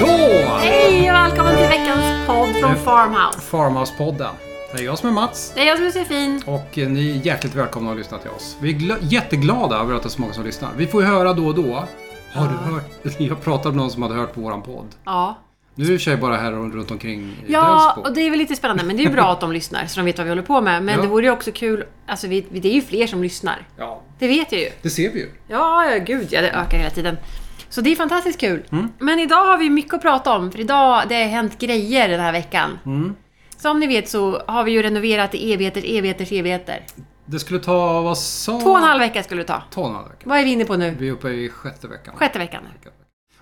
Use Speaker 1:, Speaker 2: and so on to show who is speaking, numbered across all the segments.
Speaker 1: Då!
Speaker 2: Hej och välkommen till veckans podd från
Speaker 1: Mm.
Speaker 2: Farmhouse.
Speaker 1: Farmhouse-podden. Det är jag som är Mats.
Speaker 2: Det är jag som är Josefin.
Speaker 1: Och eh, ni är hjärtligt välkomna att lyssna till oss. Vi är gl- jätteglada över att det är så många som lyssnar. Vi får ju höra då och då. Har du hört? Jag pratade med någon som hade hört på våran podd.
Speaker 2: Ja.
Speaker 1: Nu är i och för sig bara här och runt omkring i
Speaker 2: Ja,
Speaker 1: Delsbo.
Speaker 2: och det är väl lite spännande. Men det är ju bra att de lyssnar så de vet vad vi håller på med. Men
Speaker 1: Ja.
Speaker 2: det vore ju också kul. Alltså, vi, vi- det är ju fler som lyssnar.
Speaker 1: Ja,
Speaker 2: Det vet jag ju.
Speaker 1: det ser vi ju.
Speaker 2: Ja, ja gud ja, det ökar hela tiden. Mm. Så det är fantastiskt kul. Men idag har vi mycket att prata om. För idag, det har hänt grejer den här veckan. Som ni vet så har vi ju renoverat i evigheter, evigheters evigheter.
Speaker 1: Det skulle ta, vad sa...
Speaker 2: Två och en halv vecka skulle det ta.
Speaker 1: Två och en halv vecka.
Speaker 2: Vad är vi inne på nu?
Speaker 1: Vi är uppe i sjätte veckan.
Speaker 2: Sjätte veckan nu.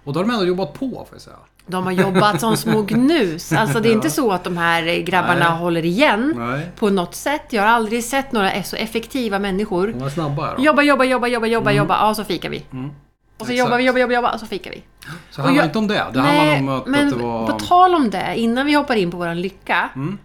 Speaker 1: Och då har de ändå jobbat på, får jag säga.
Speaker 2: De har jobbat som små gnus. Alltså det är inte så att de här grabbarna
Speaker 1: Nej.
Speaker 2: håller igen
Speaker 1: Nej.
Speaker 2: på något sätt. Jag har aldrig sett några så effektiva människor.
Speaker 1: De var snabba här då.
Speaker 2: Jobba, jobba, jobba, jobba, jobba, jobba. Ja, så fikar vi. Och så
Speaker 1: Mm. Exakt.
Speaker 2: jobbar vi, jobbar, jobbar, jobbar och så fikar vi.
Speaker 1: Så det handlar
Speaker 2: jag-
Speaker 1: inte om det. Det handlar
Speaker 2: Nej,
Speaker 1: om att,
Speaker 2: men
Speaker 1: att det var...
Speaker 2: på tal om det, innan vi hoppar in på våran lycka.
Speaker 1: Mm.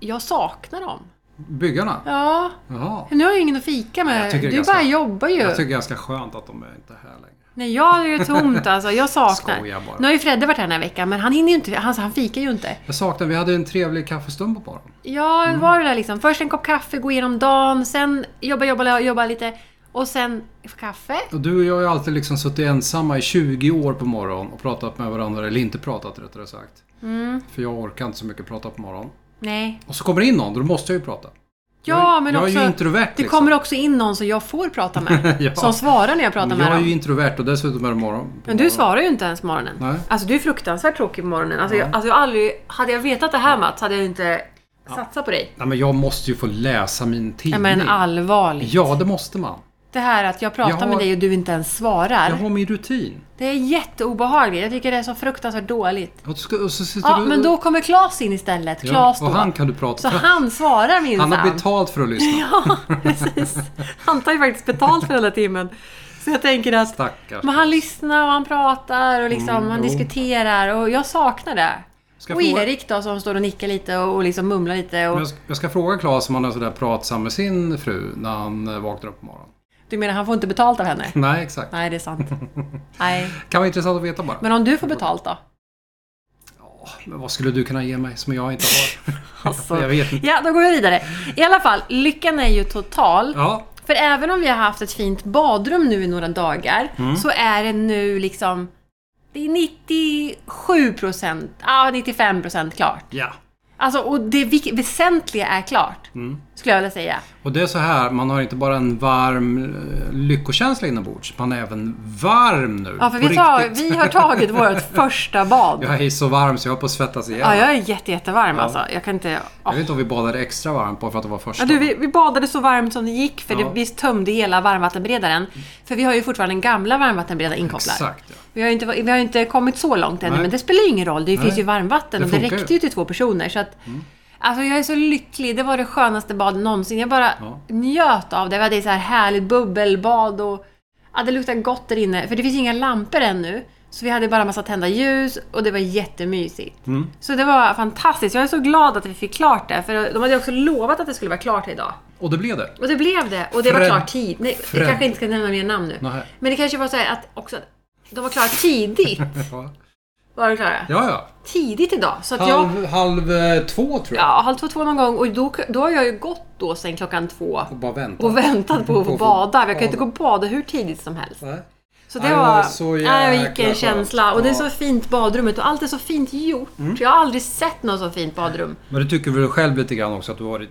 Speaker 2: Jag saknar dem.
Speaker 1: Byggarna?
Speaker 2: Ja,
Speaker 1: Jaha.
Speaker 2: nu har jag ingen att fika med.
Speaker 1: Jag tycker det är
Speaker 2: du
Speaker 1: ganska-
Speaker 2: bara jobbar ju.
Speaker 1: Jag tycker det är ganska skönt att de är inte är här längre.
Speaker 2: Nej, jag är ju tomt alltså. Jag saknar.
Speaker 1: Skojar bara.
Speaker 2: Nu har ju Fredde varit här den här veckan, men han hinner ju inte. Han, han fikar ju inte.
Speaker 1: Jag saknar, vi hade en trevlig kaffestund på baren.
Speaker 2: Ja,
Speaker 1: Mm.
Speaker 2: det var det där liksom. Först en kopp kaffe, gå igenom dagen, sen jobba, jobba, jobba lite. Och sen kaffe.
Speaker 1: Och du och jag har ju alltid liksom suttit ensamma i 20 år på morgonen och pratat med varandra, eller inte pratat rättare sagt.
Speaker 2: Mm.
Speaker 1: För jag orkar inte så mycket prata på morgonen.
Speaker 2: Nej.
Speaker 1: Och så kommer det in någon, då måste jag ju prata.
Speaker 2: Ja, men
Speaker 1: jag är
Speaker 2: också...
Speaker 1: ju introvert liksom.
Speaker 2: det kommer också in någon som jag får prata med.
Speaker 1: Ja.
Speaker 2: Som svarar när jag pratar
Speaker 1: Men
Speaker 2: med
Speaker 1: Jag är
Speaker 2: dem.
Speaker 1: ju introvert och dessutom är det morgon. på
Speaker 2: Men du
Speaker 1: morgonen.
Speaker 2: svarar ju inte ens på morgonen.
Speaker 1: Nej.
Speaker 2: Alltså du är fruktansvärt tråkig på morgonen. Alltså, jag, alltså, jag har aldrig, hade jag vetat det här Mats, hade jag inte satsat på dig.
Speaker 1: Nej men jag måste ju få läsa min
Speaker 2: Nej,
Speaker 1: tidning.
Speaker 2: men allvarligt.
Speaker 1: Ja, det måste man.
Speaker 2: Det här att jag pratar
Speaker 1: Jag har-
Speaker 2: med dig och du inte ens svarar.
Speaker 1: Jag har min rutin.
Speaker 2: Det är jätteobehagligt. Jag tycker det är så fruktansvärt dåligt.
Speaker 1: Och så, och så sitter
Speaker 2: Ja,
Speaker 1: du...
Speaker 2: men då kommer Claes in istället.
Speaker 1: Ja,
Speaker 2: Claes
Speaker 1: och
Speaker 2: då.
Speaker 1: han kan du prata
Speaker 2: Så
Speaker 1: med.
Speaker 2: han svarar minsann.
Speaker 1: Han har betalt för att lyssna.
Speaker 2: Ja, precis. Han tar ju faktiskt betalt för den här timmen. Så jag tänker att
Speaker 1: Stackars.
Speaker 2: men han lyssnar och han pratar och liksom,
Speaker 1: Mm,
Speaker 2: han
Speaker 1: jo.
Speaker 2: diskuterar och jag saknar det.
Speaker 1: Ska
Speaker 2: och
Speaker 1: jag fråga-
Speaker 2: Erik då som står och nickar lite och, och liksom mumlar lite. Och,
Speaker 1: Men Jag ska, jag ska fråga Claes om han är sådär pratsam med sin fru när han eh, vaknar upp på morgonen.
Speaker 2: Du menar han får inte betalt av henne?
Speaker 1: Nej, exakt.
Speaker 2: Nej, det är sant. Nej.
Speaker 1: Kan vara intressant att veta bara. Men,
Speaker 2: Men om du får betalt då?
Speaker 1: vad skulle du kunna ge mig som jag inte har?
Speaker 2: Alltså.
Speaker 1: Jag vet inte.
Speaker 2: Ja, då går vi vidare. I alla fall, lyckan är ju total.
Speaker 1: Ja,
Speaker 2: För även om vi har haft ett fint badrum nu i några dagar
Speaker 1: Mm.
Speaker 2: så är det nu liksom det är 97 procent, ah, 95 procent klart.
Speaker 1: ja.
Speaker 2: Alltså, och det vik- väsentliga är klart,
Speaker 1: Mm.
Speaker 2: skulle jag vilja säga.
Speaker 1: Och det är så här, man har inte bara en varm eh, lyckokänsla inombords. Man är även varm nu.
Speaker 2: Ja, för
Speaker 1: på
Speaker 2: vi, tar,
Speaker 1: riktigt.
Speaker 2: vi har tagit vårt första bad.
Speaker 1: Jag är så varm så jag håller på att svettas ihjäl.
Speaker 2: Ja, jag är jätte, jättevarm alltså. Jag kan inte...
Speaker 1: Jag
Speaker 2: åh.
Speaker 1: vet inte om vi badade extra varmt bara för att det var första.
Speaker 2: Ja, du, vi, vi badade så varmt som det gick för det,
Speaker 1: Ja. Mm.
Speaker 2: vi tömde hela varmvattenberedaren. För vi har ju fortfarande den gamla varmvattenberedaren inkopplad.
Speaker 1: Exakt, ja.
Speaker 2: Vi har ju inte, vi har ju inte kommit så långt ännu,
Speaker 1: Nej.
Speaker 2: men det spelar ju ingen roll. Det finns ju varmvatten
Speaker 1: Det
Speaker 2: och det
Speaker 1: funkar
Speaker 2: räckte
Speaker 1: ju. Mm.
Speaker 2: ju till två personer. Så att, Alltså jag är så lycklig. Det var det skönaste badet någonsin. Jag bara
Speaker 1: Ja.
Speaker 2: njöt av det. Vi hade ett så här härligt bubbelbad och ja, det luktade gott där inne. För det finns inga lampor ännu. Så vi hade bara massa tända ljus och det var jättemysigt.
Speaker 1: Mm.
Speaker 2: Så det var fantastiskt. Jag är så glad att vi fick klart det. För de hade ju också lovat att det skulle vara klart idag.
Speaker 1: Och det blev det.
Speaker 2: Och det blev det. Och det var
Speaker 1: Fred-
Speaker 2: klart tid. Nej, jag
Speaker 1: Fred-
Speaker 2: kanske inte ska nämna mer namn nu.
Speaker 1: Nej.
Speaker 2: Men det kanske var så här att också att de var klara tidigt.
Speaker 1: Ja,
Speaker 2: Var de klara?
Speaker 1: ja.
Speaker 2: Tidigt idag. Så att jag...
Speaker 1: Halv, halv eh, två tror jag.
Speaker 2: Ja, halv två, två någon gång. Och då, då har jag ju gått då sen klockan två.
Speaker 1: Och bara vänta.
Speaker 2: Och väntat på att
Speaker 1: På
Speaker 2: få
Speaker 1: att få
Speaker 2: bada. Jag kan ju inte gå
Speaker 1: bada.
Speaker 2: och bada hur tidigt som helst.
Speaker 1: Nej.
Speaker 2: Så det
Speaker 1: Nej, det
Speaker 2: var...
Speaker 1: var så
Speaker 2: Nej, jag gick
Speaker 1: jäkla
Speaker 2: en
Speaker 1: skönt.
Speaker 2: känsla. Och det är så
Speaker 1: Ja. Mm.
Speaker 2: fint badrummet och allt är så fint gjort. Jag har aldrig sett något så fint badrum.
Speaker 1: Men du tycker väl själv lite grann också att du har varit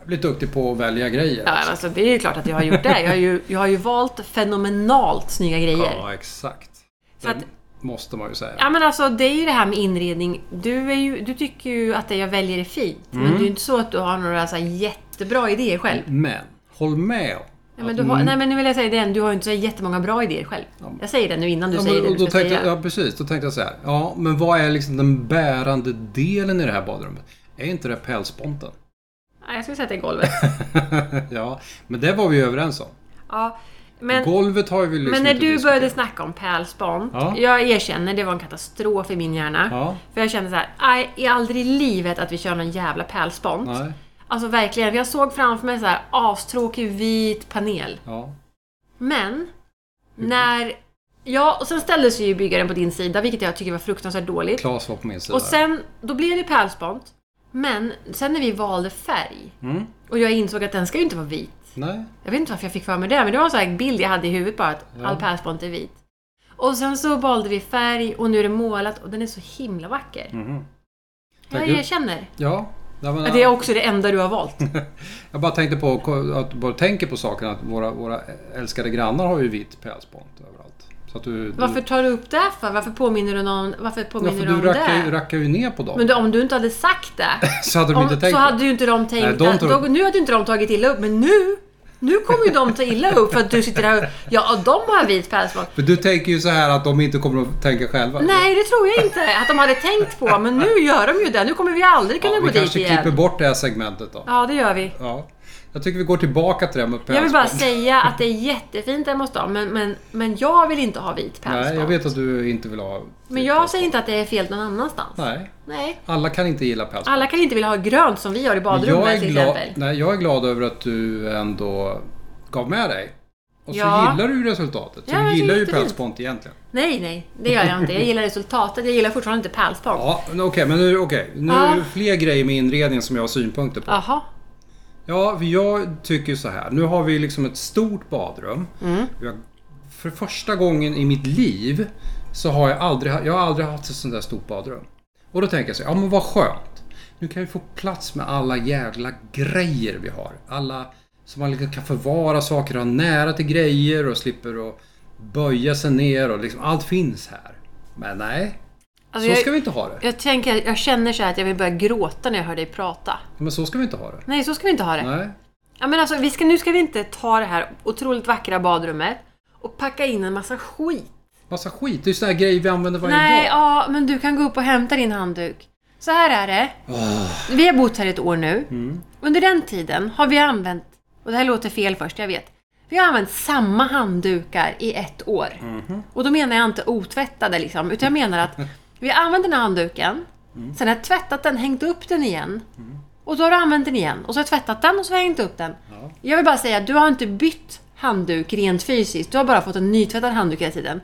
Speaker 1: jävligt duktig på att välja grejer?
Speaker 2: Ja, men alltså, det är ju klart att jag har gjort det. Jag har ju, jag har ju valt fenomenalt snygga grejer.
Speaker 1: Ja, exakt.
Speaker 2: Så att-
Speaker 1: det måste man ju säga.
Speaker 2: Ja men alltså det är ju det här med inredning. Du, är ju, du tycker ju att det jag väljer är fint.
Speaker 1: Mm.
Speaker 2: Men det är ju inte så att du har några så här jättebra idéer själv.
Speaker 1: Men, håll med om
Speaker 2: Ja, men
Speaker 1: att-
Speaker 2: du har,
Speaker 1: Mm.
Speaker 2: nej men nu vill jag säga det igen, du har ju inte så jättemånga bra idéer själv. Jag säger det nu innan du
Speaker 1: Ja,
Speaker 2: säger
Speaker 1: men,
Speaker 2: det
Speaker 1: och
Speaker 2: du
Speaker 1: då
Speaker 2: ska
Speaker 1: tänkte,
Speaker 2: säga.
Speaker 1: jag- ja, precis. Då tänkte jag så här. Ja, men vad är liksom den bärande delen i det här badrummet? Är inte det pälsponten?
Speaker 2: Nej, jag skulle säga att det är golvet.
Speaker 1: ja, men det var vi ju överens om.
Speaker 2: Ja. Men,
Speaker 1: Golvet har ju vi liksom
Speaker 2: men när
Speaker 1: inte
Speaker 2: du
Speaker 1: diskuterat.
Speaker 2: började snacka om pärlspont.
Speaker 1: Ja.
Speaker 2: Jag erkänner, det var en katastrof i min hjärna.
Speaker 1: Ja,
Speaker 2: För jag kände så här, "Aj, i aldrig i livet att vi kör någon jävla pärlspont.
Speaker 1: nej.
Speaker 2: Alltså verkligen, jag såg framför mig så här astråkig vit panel.
Speaker 1: Ja. Mm.
Speaker 2: Men, när... Ja, och sen ställde sig ju byggaren på din sida, vilket jag tycker var fruktansvärt dåligt.
Speaker 1: Klas var på min sida.
Speaker 2: Och sen, då blev det pärlspont. Men sen när vi valde färg
Speaker 1: Mm,
Speaker 2: och jag insåg att den ska ju inte vara vit.
Speaker 1: nej.
Speaker 2: Jag vet inte varför jag fick för mig det, men det var en sån här bild jag hade i huvudet bara att
Speaker 1: Ja.
Speaker 2: all pärlspont är vit. Och sen så valde vi färg och nu är det målat och den är så himla vacker.
Speaker 1: Mhm.
Speaker 2: Jag
Speaker 1: Tack.
Speaker 2: erkänner.
Speaker 1: Ja. Mm. Nej, men,
Speaker 2: Att det är också det enda du har valt.
Speaker 1: Jag bara tänkte på, att bara tänker på saken att våra, våra älskade grannar har ju vitt pärlspont överallt. Så att du,
Speaker 2: Varför tar du upp det för? Varför påminner du någon varför
Speaker 1: du,
Speaker 2: påminner
Speaker 1: varför
Speaker 2: du om
Speaker 1: du rackar, ju-
Speaker 2: det?
Speaker 1: rackar ju ner på dem.
Speaker 2: Men du, om du inte hade sagt det,
Speaker 1: så hade de inte
Speaker 2: om,
Speaker 1: tänkt
Speaker 2: så
Speaker 1: på
Speaker 2: hade ju inte de tänkt...
Speaker 1: Nej, de
Speaker 2: att-
Speaker 1: tror-
Speaker 2: då, nu hade ju inte de tagit illa upp, men nu... Nu kommer ju de ta illa upp för att du sitter där och... Ja, och de har vit pälsbak.
Speaker 1: För du tänker ju så här att de inte kommer att tänka själva.
Speaker 2: Nej, det tror jag inte att de hade tänkt på, men nu gör de ju det. Nu kommer vi aldrig kunna
Speaker 1: ja,
Speaker 2: gå
Speaker 1: Vi
Speaker 2: dit
Speaker 1: kanske
Speaker 2: igen.
Speaker 1: klipper bort det här segmentet då. Ja.
Speaker 2: Ja, det gör vi.
Speaker 1: Jag tycker vi går tillbaka till det här med pärlspont.
Speaker 2: Jag vill bara säga att det är jättefint hemma hos dem, men, men, men jag vill inte ha vit
Speaker 1: Nej, jag
Speaker 2: pälsbak.
Speaker 1: vet att du inte vill ha...
Speaker 2: Men jag säger inte att det är fel någon annanstans.
Speaker 1: Nej,
Speaker 2: Nej.
Speaker 1: alla kan inte gilla pälsband.
Speaker 2: Alla kan inte vilja ha grönt som vi har i
Speaker 1: jag
Speaker 2: badrummet
Speaker 1: är,
Speaker 2: till
Speaker 1: glad,
Speaker 2: exempel.
Speaker 1: nej, jag är glad över att du ändå gav med dig. Och så
Speaker 2: Ja.
Speaker 1: gillar du ju resultatet. Så
Speaker 2: Ja, det
Speaker 1: du
Speaker 2: är
Speaker 1: gillar ju
Speaker 2: jättefint.
Speaker 1: pälspont egentligen.
Speaker 2: Nej, nej, det gör jag inte. Jag gillar resultatet. Jag gillar fortfarande inte pärlspont.
Speaker 1: Ja, men okej, men nu, okej. nu är det
Speaker 2: Ja.
Speaker 1: fler grejer med inredningen som jag har synpunkter på.
Speaker 2: Jaha.
Speaker 1: Ja, för jag tycker så här. Nu har vi liksom ett stort badrum.
Speaker 2: Mm.
Speaker 1: Vi har- För första gången i mitt liv så har jag aldrig, jag har aldrig haft ett sånt där stort badrum. Och då tänker jag så här, ja men vad skönt. Nu kan vi få plats med alla jävla grejer vi har. Alla som man liksom kan förvara saker och ha nära till grejer och slipper att böja sig ner och liksom allt finns här. Men nej,
Speaker 2: Alltså,
Speaker 1: så ska
Speaker 2: jag,
Speaker 1: vi inte ha det.
Speaker 2: jag, tänker, jag känner så här att jag vill börja gråta när jag hör dig prata.
Speaker 1: Men så ska vi inte ha det.
Speaker 2: Nej, så ska vi inte ha det.
Speaker 1: Nej.
Speaker 2: Ja, men alltså, vi ska, nu ska vi inte ta det här otroligt vackra badrummet och packa in en massa skit.
Speaker 1: Massa skit, det är ju såna här grejer vi använder varje
Speaker 2: Nej,
Speaker 1: dag.
Speaker 2: ja, men du kan gå upp och hämta din handduk. Så här är det.
Speaker 1: Ah.
Speaker 2: Vi har bott här ett år nu.
Speaker 1: Mm.
Speaker 2: Under den tiden har vi använt, och det här låter fel först, jag vet. Vi har använt samma handdukar i ett år.
Speaker 1: Mhm.
Speaker 2: Och då menar jag inte otvättade liksom, utan jag menar att vi har använt den här handduken,
Speaker 1: Mm.
Speaker 2: sen har jag tvättat den, hängt upp den igen. Och så har du använt den igen, och så har jag tvättat den och så har jag hängt upp den.
Speaker 1: Ja.
Speaker 2: Jag vill bara säga att du har inte bytt handduk rent fysiskt, du har bara fått en nytvättad handduk hela tiden.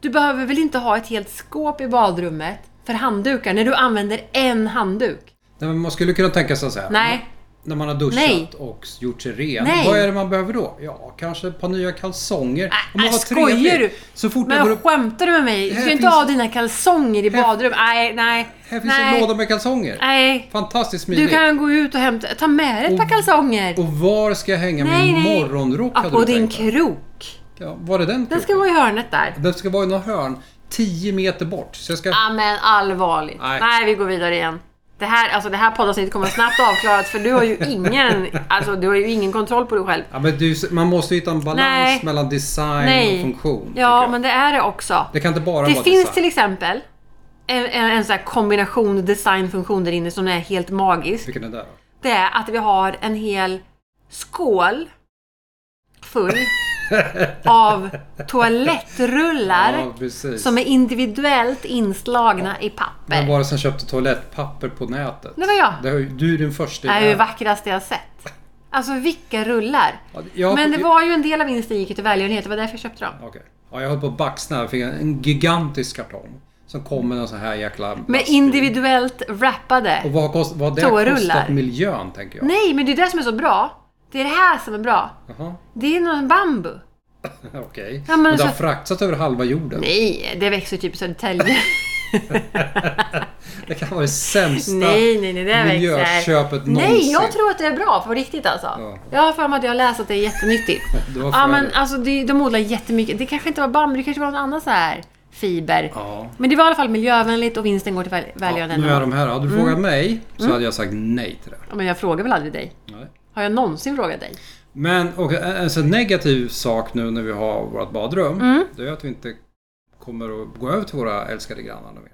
Speaker 2: Du behöver väl inte ha ett helt skåp i badrummet för handdukar när du använder en handduk?
Speaker 1: Nej, men man skulle kunna tänka sig så här.
Speaker 2: Nej.
Speaker 1: När man har duschat
Speaker 2: Nej.
Speaker 1: och gjort sig ren.
Speaker 2: Nej.
Speaker 1: Vad är det man behöver då? Ja, kanske ett par nya kalsonger. Om man
Speaker 2: äh,
Speaker 1: var
Speaker 2: skojar
Speaker 1: trevlig.
Speaker 2: du?
Speaker 1: Så fort jag går
Speaker 2: Men
Speaker 1: upp...
Speaker 2: skämtar du med mig? Du
Speaker 1: Här
Speaker 2: ska ju inte
Speaker 1: finns-
Speaker 2: ha dina kalsonger i badrum. Nej, nej.
Speaker 1: Här finns en
Speaker 2: nej,
Speaker 1: låda med kalsonger.
Speaker 2: nej.
Speaker 1: Fantastiskt
Speaker 2: Du
Speaker 1: smidigt.
Speaker 2: kan gå ut och hämta... Ta med dig ett par
Speaker 1: Och-
Speaker 2: kalsonger.
Speaker 1: Och var ska jag hänga
Speaker 2: nej,
Speaker 1: min
Speaker 2: nej.
Speaker 1: morgonrock?
Speaker 2: Ja,
Speaker 1: hade
Speaker 2: på
Speaker 1: du
Speaker 2: din
Speaker 1: tänkt dig?
Speaker 2: krok.
Speaker 1: ja, Var är den
Speaker 2: Den ska
Speaker 1: kroken?
Speaker 2: vara Ah. i hörnet där.
Speaker 1: Den ska vara i något hörn 10 meter bort. Så jag ska...
Speaker 2: Ja, men allvarligt.
Speaker 1: Nej.
Speaker 2: Nej. vi går vidare igen. Det här, alltså det här poddavsnittet kommer snabbt avklarat för du har ju ingen, alltså, du har ju ingen kontroll på dig själv.
Speaker 1: Ja, men du, man måste hitta en balans
Speaker 2: Nej.
Speaker 1: mellan design
Speaker 2: Nej.
Speaker 1: och funktion. tycker
Speaker 2: Ja,
Speaker 1: jag.
Speaker 2: men det är det också.
Speaker 1: Det kan inte bara
Speaker 2: Det
Speaker 1: vara
Speaker 2: finns
Speaker 1: design.
Speaker 2: till exempel en, en, en sån här kombination design-funktion där inne som är helt magisk.
Speaker 1: Vilken är det där då?
Speaker 2: Det är att vi har en hel skål full av toalettrullar
Speaker 1: Ja, precis.
Speaker 2: som är individuellt inslagna i
Speaker 1: Vem
Speaker 2: papper.
Speaker 1: var det som köpte toalettpapper på nätet?
Speaker 2: Det var jag.
Speaker 1: Det var ju- du är den första
Speaker 2: Det är
Speaker 1: i
Speaker 2: ju det
Speaker 1: världen.
Speaker 2: vackraste jag sett. Alltså vilka rullar!
Speaker 1: Ja, jag-
Speaker 2: Men det var ju en del av min stil gick till välgörenhet, det var därför jag köpte dem.
Speaker 1: Okej. Ja, jag höll på att baxna. Jag fick en, en gigantisk kartong. Som kom med en sån här jäkla...
Speaker 2: Men
Speaker 1: lastbil.
Speaker 2: individuellt wrappade.
Speaker 1: Och vad har kost, vad har det
Speaker 2: Toarullar.
Speaker 1: kostat miljön, tänker jag.
Speaker 2: Nej, men det är det som är så bra. Det är det här som är bra.
Speaker 1: Jaha,
Speaker 2: Det är någon bambu.
Speaker 1: okej.
Speaker 2: Ja,
Speaker 1: men
Speaker 2: men
Speaker 1: det har
Speaker 2: så-
Speaker 1: fraktats över halva jorden.
Speaker 2: Nej, det växer typ i Södertälje.
Speaker 1: Det kan vara det sämsta
Speaker 2: nej, nej, nej, det växer.
Speaker 1: miljököpet någonsin.
Speaker 2: Nej, jag tror att det är bra på riktigt alltså.
Speaker 1: Ja.
Speaker 2: Jag har för mig att jag har läst att det är jättenyttigt.
Speaker 1: Det var
Speaker 2: ja,
Speaker 1: för-
Speaker 2: men alltså det, de odlar jättemycket. Det kanske inte var bambu, det kanske var någon annan så här fiber.
Speaker 1: Ja.
Speaker 2: Men det var i alla fall miljövänligt och vinsten går till väl-
Speaker 1: Ja, nu är
Speaker 2: välgörenhet.
Speaker 1: de här. Hade du frågat mig så
Speaker 2: Mm.
Speaker 1: hade jag sagt nej till det.
Speaker 2: Ja, men jag frågar väl aldrig dig?
Speaker 1: Nej.
Speaker 2: Har jag någonsin frågat dig?
Speaker 1: Men och en en sån negativ sak nu när vi har vårt badrum.
Speaker 2: Mm.
Speaker 1: Det är att vi inte kommer att gå över till våra älskade grannar mer.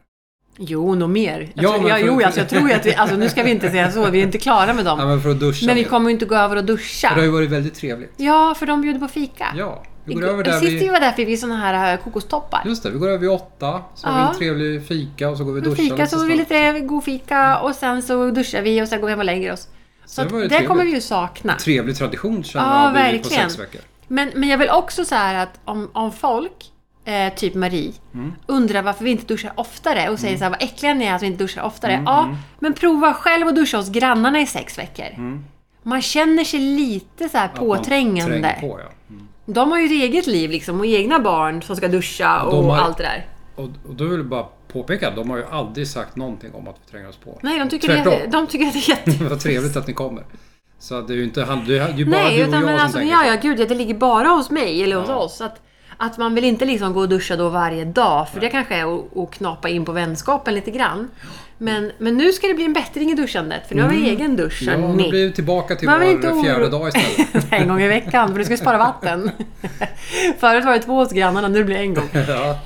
Speaker 2: Jo, nog mer. Jag
Speaker 1: Ja,
Speaker 2: tror,
Speaker 1: men
Speaker 2: ja,
Speaker 1: för-
Speaker 2: jo, alltså, jag tror ju att vi... Alltså, nu ska vi inte säga så, vi är inte klara med dem.
Speaker 1: Nej, men för att duscha
Speaker 2: Men vi
Speaker 1: mer.
Speaker 2: kommer ju inte gå över och duscha.
Speaker 1: Det har ju varit väldigt trevligt.
Speaker 2: Ja, för de bjuder på fika.
Speaker 1: Ja, Vi går över där
Speaker 2: Sist vi
Speaker 1: vid...
Speaker 2: var där fick vi såna här eh, kokostoppar.
Speaker 1: Just det, vi går över vid åtta. Så har vi
Speaker 2: Ja.
Speaker 1: en trevlig fika och så går vi och
Speaker 2: Vi
Speaker 1: duschar
Speaker 2: fika, så vi
Speaker 1: snabbt.
Speaker 2: lite eh, god fika och sen så duschar vi och sen går vi hem och lägger oss. Så
Speaker 1: Det
Speaker 2: att
Speaker 1: var ju
Speaker 2: det kommer vi
Speaker 1: trevligt.
Speaker 2: ju sakna.
Speaker 1: Trevlig tradition känner
Speaker 2: Ja,
Speaker 1: jag har blivit på
Speaker 2: verkligen.
Speaker 1: sex veckor.
Speaker 2: Men, men jag vill också så här att om, om folk, eh, typ Marie,
Speaker 1: Mm.
Speaker 2: undrar varför vi inte duschar oftare och säger så här vad äckliga ni är att vi inte duschar oftare.
Speaker 1: Mm,
Speaker 2: ja, men prova själv att duscha hos grannarna i sex veckor.
Speaker 1: Mm.
Speaker 2: Man känner sig lite så här
Speaker 1: Att man
Speaker 2: påträngande.
Speaker 1: tränger På, ja. Mm.
Speaker 2: De har ju ett eget liv liksom och egna barn som ska duscha
Speaker 1: de
Speaker 2: och
Speaker 1: har-
Speaker 2: allt det där.
Speaker 1: och, och då vill jag bara påpeka att de har ju aldrig sagt någonting om att vi tränger oss på.
Speaker 2: Nej, de tycker,
Speaker 1: Tvärtom.
Speaker 2: det, de tycker att det är jätte...
Speaker 1: Vad trevligt att ni kommer. Så det är ju inte han, det är ju bara
Speaker 2: Nej,
Speaker 1: du och
Speaker 2: utan
Speaker 1: jag
Speaker 2: men
Speaker 1: som
Speaker 2: alltså,
Speaker 1: tänker
Speaker 2: ja,
Speaker 1: så.
Speaker 2: ja, gud, ja, det ligger bara hos mig eller hos
Speaker 1: Ja.
Speaker 2: oss. Att, att man vill inte liksom gå och duscha då varje dag, för det kanske är att- att knapa in på vänskapen lite grann. Men, men nu ska det bli en bättring i duschandet, för nu har vi egen dusch.
Speaker 1: Mm. Ja,
Speaker 2: hörni.
Speaker 1: nu blir vi tillbaka till
Speaker 2: Man vill inte
Speaker 1: vår
Speaker 2: oro-
Speaker 1: fjärde dag istället.
Speaker 2: en gång i veckan, för du ska spara vatten. Förut var det två hos grannarna, nu blir det en gång.
Speaker 1: ja.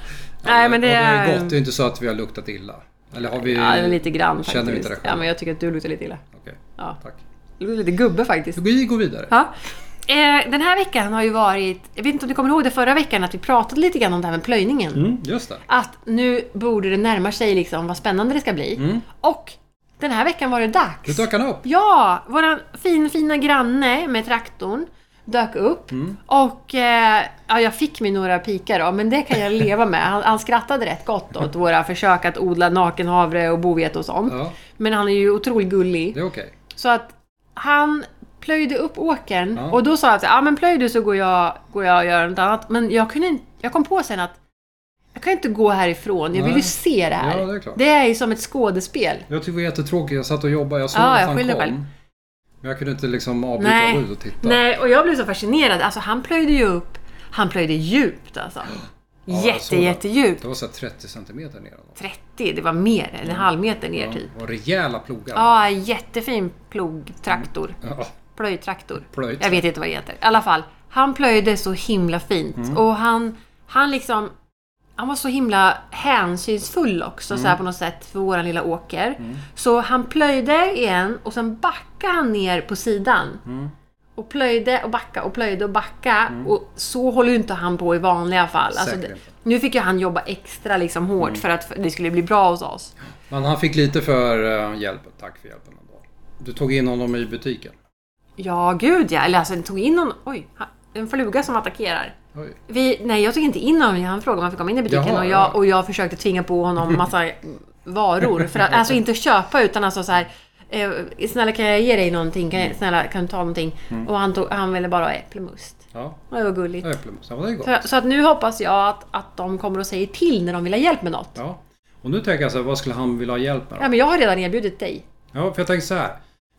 Speaker 2: Nej, men det
Speaker 1: och
Speaker 2: är-
Speaker 1: är gott. Det är inte så att vi har luktat illa. Eller har vi...
Speaker 2: Ja, lite grann
Speaker 1: Känner vi inte det
Speaker 2: faktiskt. Ja,
Speaker 1: själva?
Speaker 2: men jag tycker att du luktar lite illa.
Speaker 1: Okej,
Speaker 2: Ja.
Speaker 1: tack.
Speaker 2: Du luktar lite gubbe faktiskt.
Speaker 1: Vi går vidare.
Speaker 2: Ja. Eh, den här veckan har ju varit, jag vet inte om du kommer ihåg det förra veckan, att vi pratade lite grann om det här med plöjningen.
Speaker 1: Mm, just det.
Speaker 2: Att nu borde det närma sig liksom vad spännande det ska bli. Och den här veckan var Mm. det
Speaker 1: Nu
Speaker 2: dags.
Speaker 1: dök han upp.
Speaker 2: Ja, våran fin, fina granne med traktorn dök upp. Och eh, ja, jag fick mig några pikar då, men det kan jag leva med. Han, han skrattade rätt gott åt våra försök att odla nakenhavre och bovete och sånt.
Speaker 1: Ja,
Speaker 2: Men han är ju otroligt gullig.
Speaker 1: det är okej.
Speaker 2: Så att han plöjde upp åkern
Speaker 1: Ja.
Speaker 2: och då sa jag att ja men plöj du så går jag, går jag och gör något annat. Men jag, kunde, inte- jag kom på sen att jag kan inte gå härifrån, jag vill ju
Speaker 1: Nej.
Speaker 2: se det här.
Speaker 1: Ja, det är klart.
Speaker 2: ju som ett skådespel.
Speaker 1: Jag tyckte det var jättetråkigt. Jag satt och jobbade. Jag såg
Speaker 2: Ja, jag
Speaker 1: att han
Speaker 2: skyller
Speaker 1: kom.
Speaker 2: själv.
Speaker 1: Men jag kunde inte liksom avbryta
Speaker 2: Nej.
Speaker 1: och gå ut och titta.
Speaker 2: Nej, och jag blev så fascinerad. Alltså han plöjde ju upp, han plöjde djupt alltså.
Speaker 1: jag
Speaker 2: Jätte,
Speaker 1: såg det.
Speaker 2: jättedjupt.
Speaker 1: Det var så här 30 centimeter ner.
Speaker 2: 30, det var mer, eller en halv meter ner typ.
Speaker 1: Och rejäla plogar.
Speaker 2: Ja, jättefin plogtraktor.
Speaker 1: Mm. Ja,
Speaker 2: Plöjtraktor.
Speaker 1: Plöjt.
Speaker 2: Jag vet inte vad det heter. I alla fall, han plöjde så himla fint.
Speaker 1: Mm.
Speaker 2: Och han, han liksom... Han var så himla hänsynsfull också
Speaker 1: Mm.
Speaker 2: så här på något sätt för våran lilla åker. Så han plöjde igen och sen backade han ner på sidan.
Speaker 1: Mm.
Speaker 2: Och plöjde och backa och plöjde och backa. Och så håller ju inte han på i vanliga fall. Alltså,
Speaker 1: Säkert
Speaker 2: det-
Speaker 1: inte. Mm.
Speaker 2: nu fick ju han jobba extra liksom hårt för att det skulle bli bra hos oss.
Speaker 1: Men han fick lite för eh, hjälp. Tack för hjälpen ändå. Du tog in honom i butiken.
Speaker 2: Ja, gud ja. Eller alltså, den tog in någon... Oj, ha- en fluga som attackerar.
Speaker 1: Oj.
Speaker 2: Vi, nej, jag tog inte in honom. Han frågade om han fick komma in i butiken
Speaker 1: Jaha,
Speaker 2: och,
Speaker 1: ja.
Speaker 2: jag, och jag försökte tvinga på honom massa varor. För att, alltså inte köpa utan alltså så här. Eh, snälla kan jag ge dig någonting? Kan
Speaker 1: Mm.
Speaker 2: jag, snälla kan du ta någonting? Och han, tog, han ville bara ha äppelmust.
Speaker 1: Ja,
Speaker 2: Och det var gulligt.
Speaker 1: äppelmust. Ja, det är gott.
Speaker 2: Så, så att nu hoppas jag att, att de kommer och säger till när de vill ha hjälp med något.
Speaker 1: Ja. Och nu tänker jag så här, vad skulle han vilja ha hjälp med? då?
Speaker 2: Ja, men jag har redan erbjudit dig.
Speaker 1: Ja, för jag tänker så här.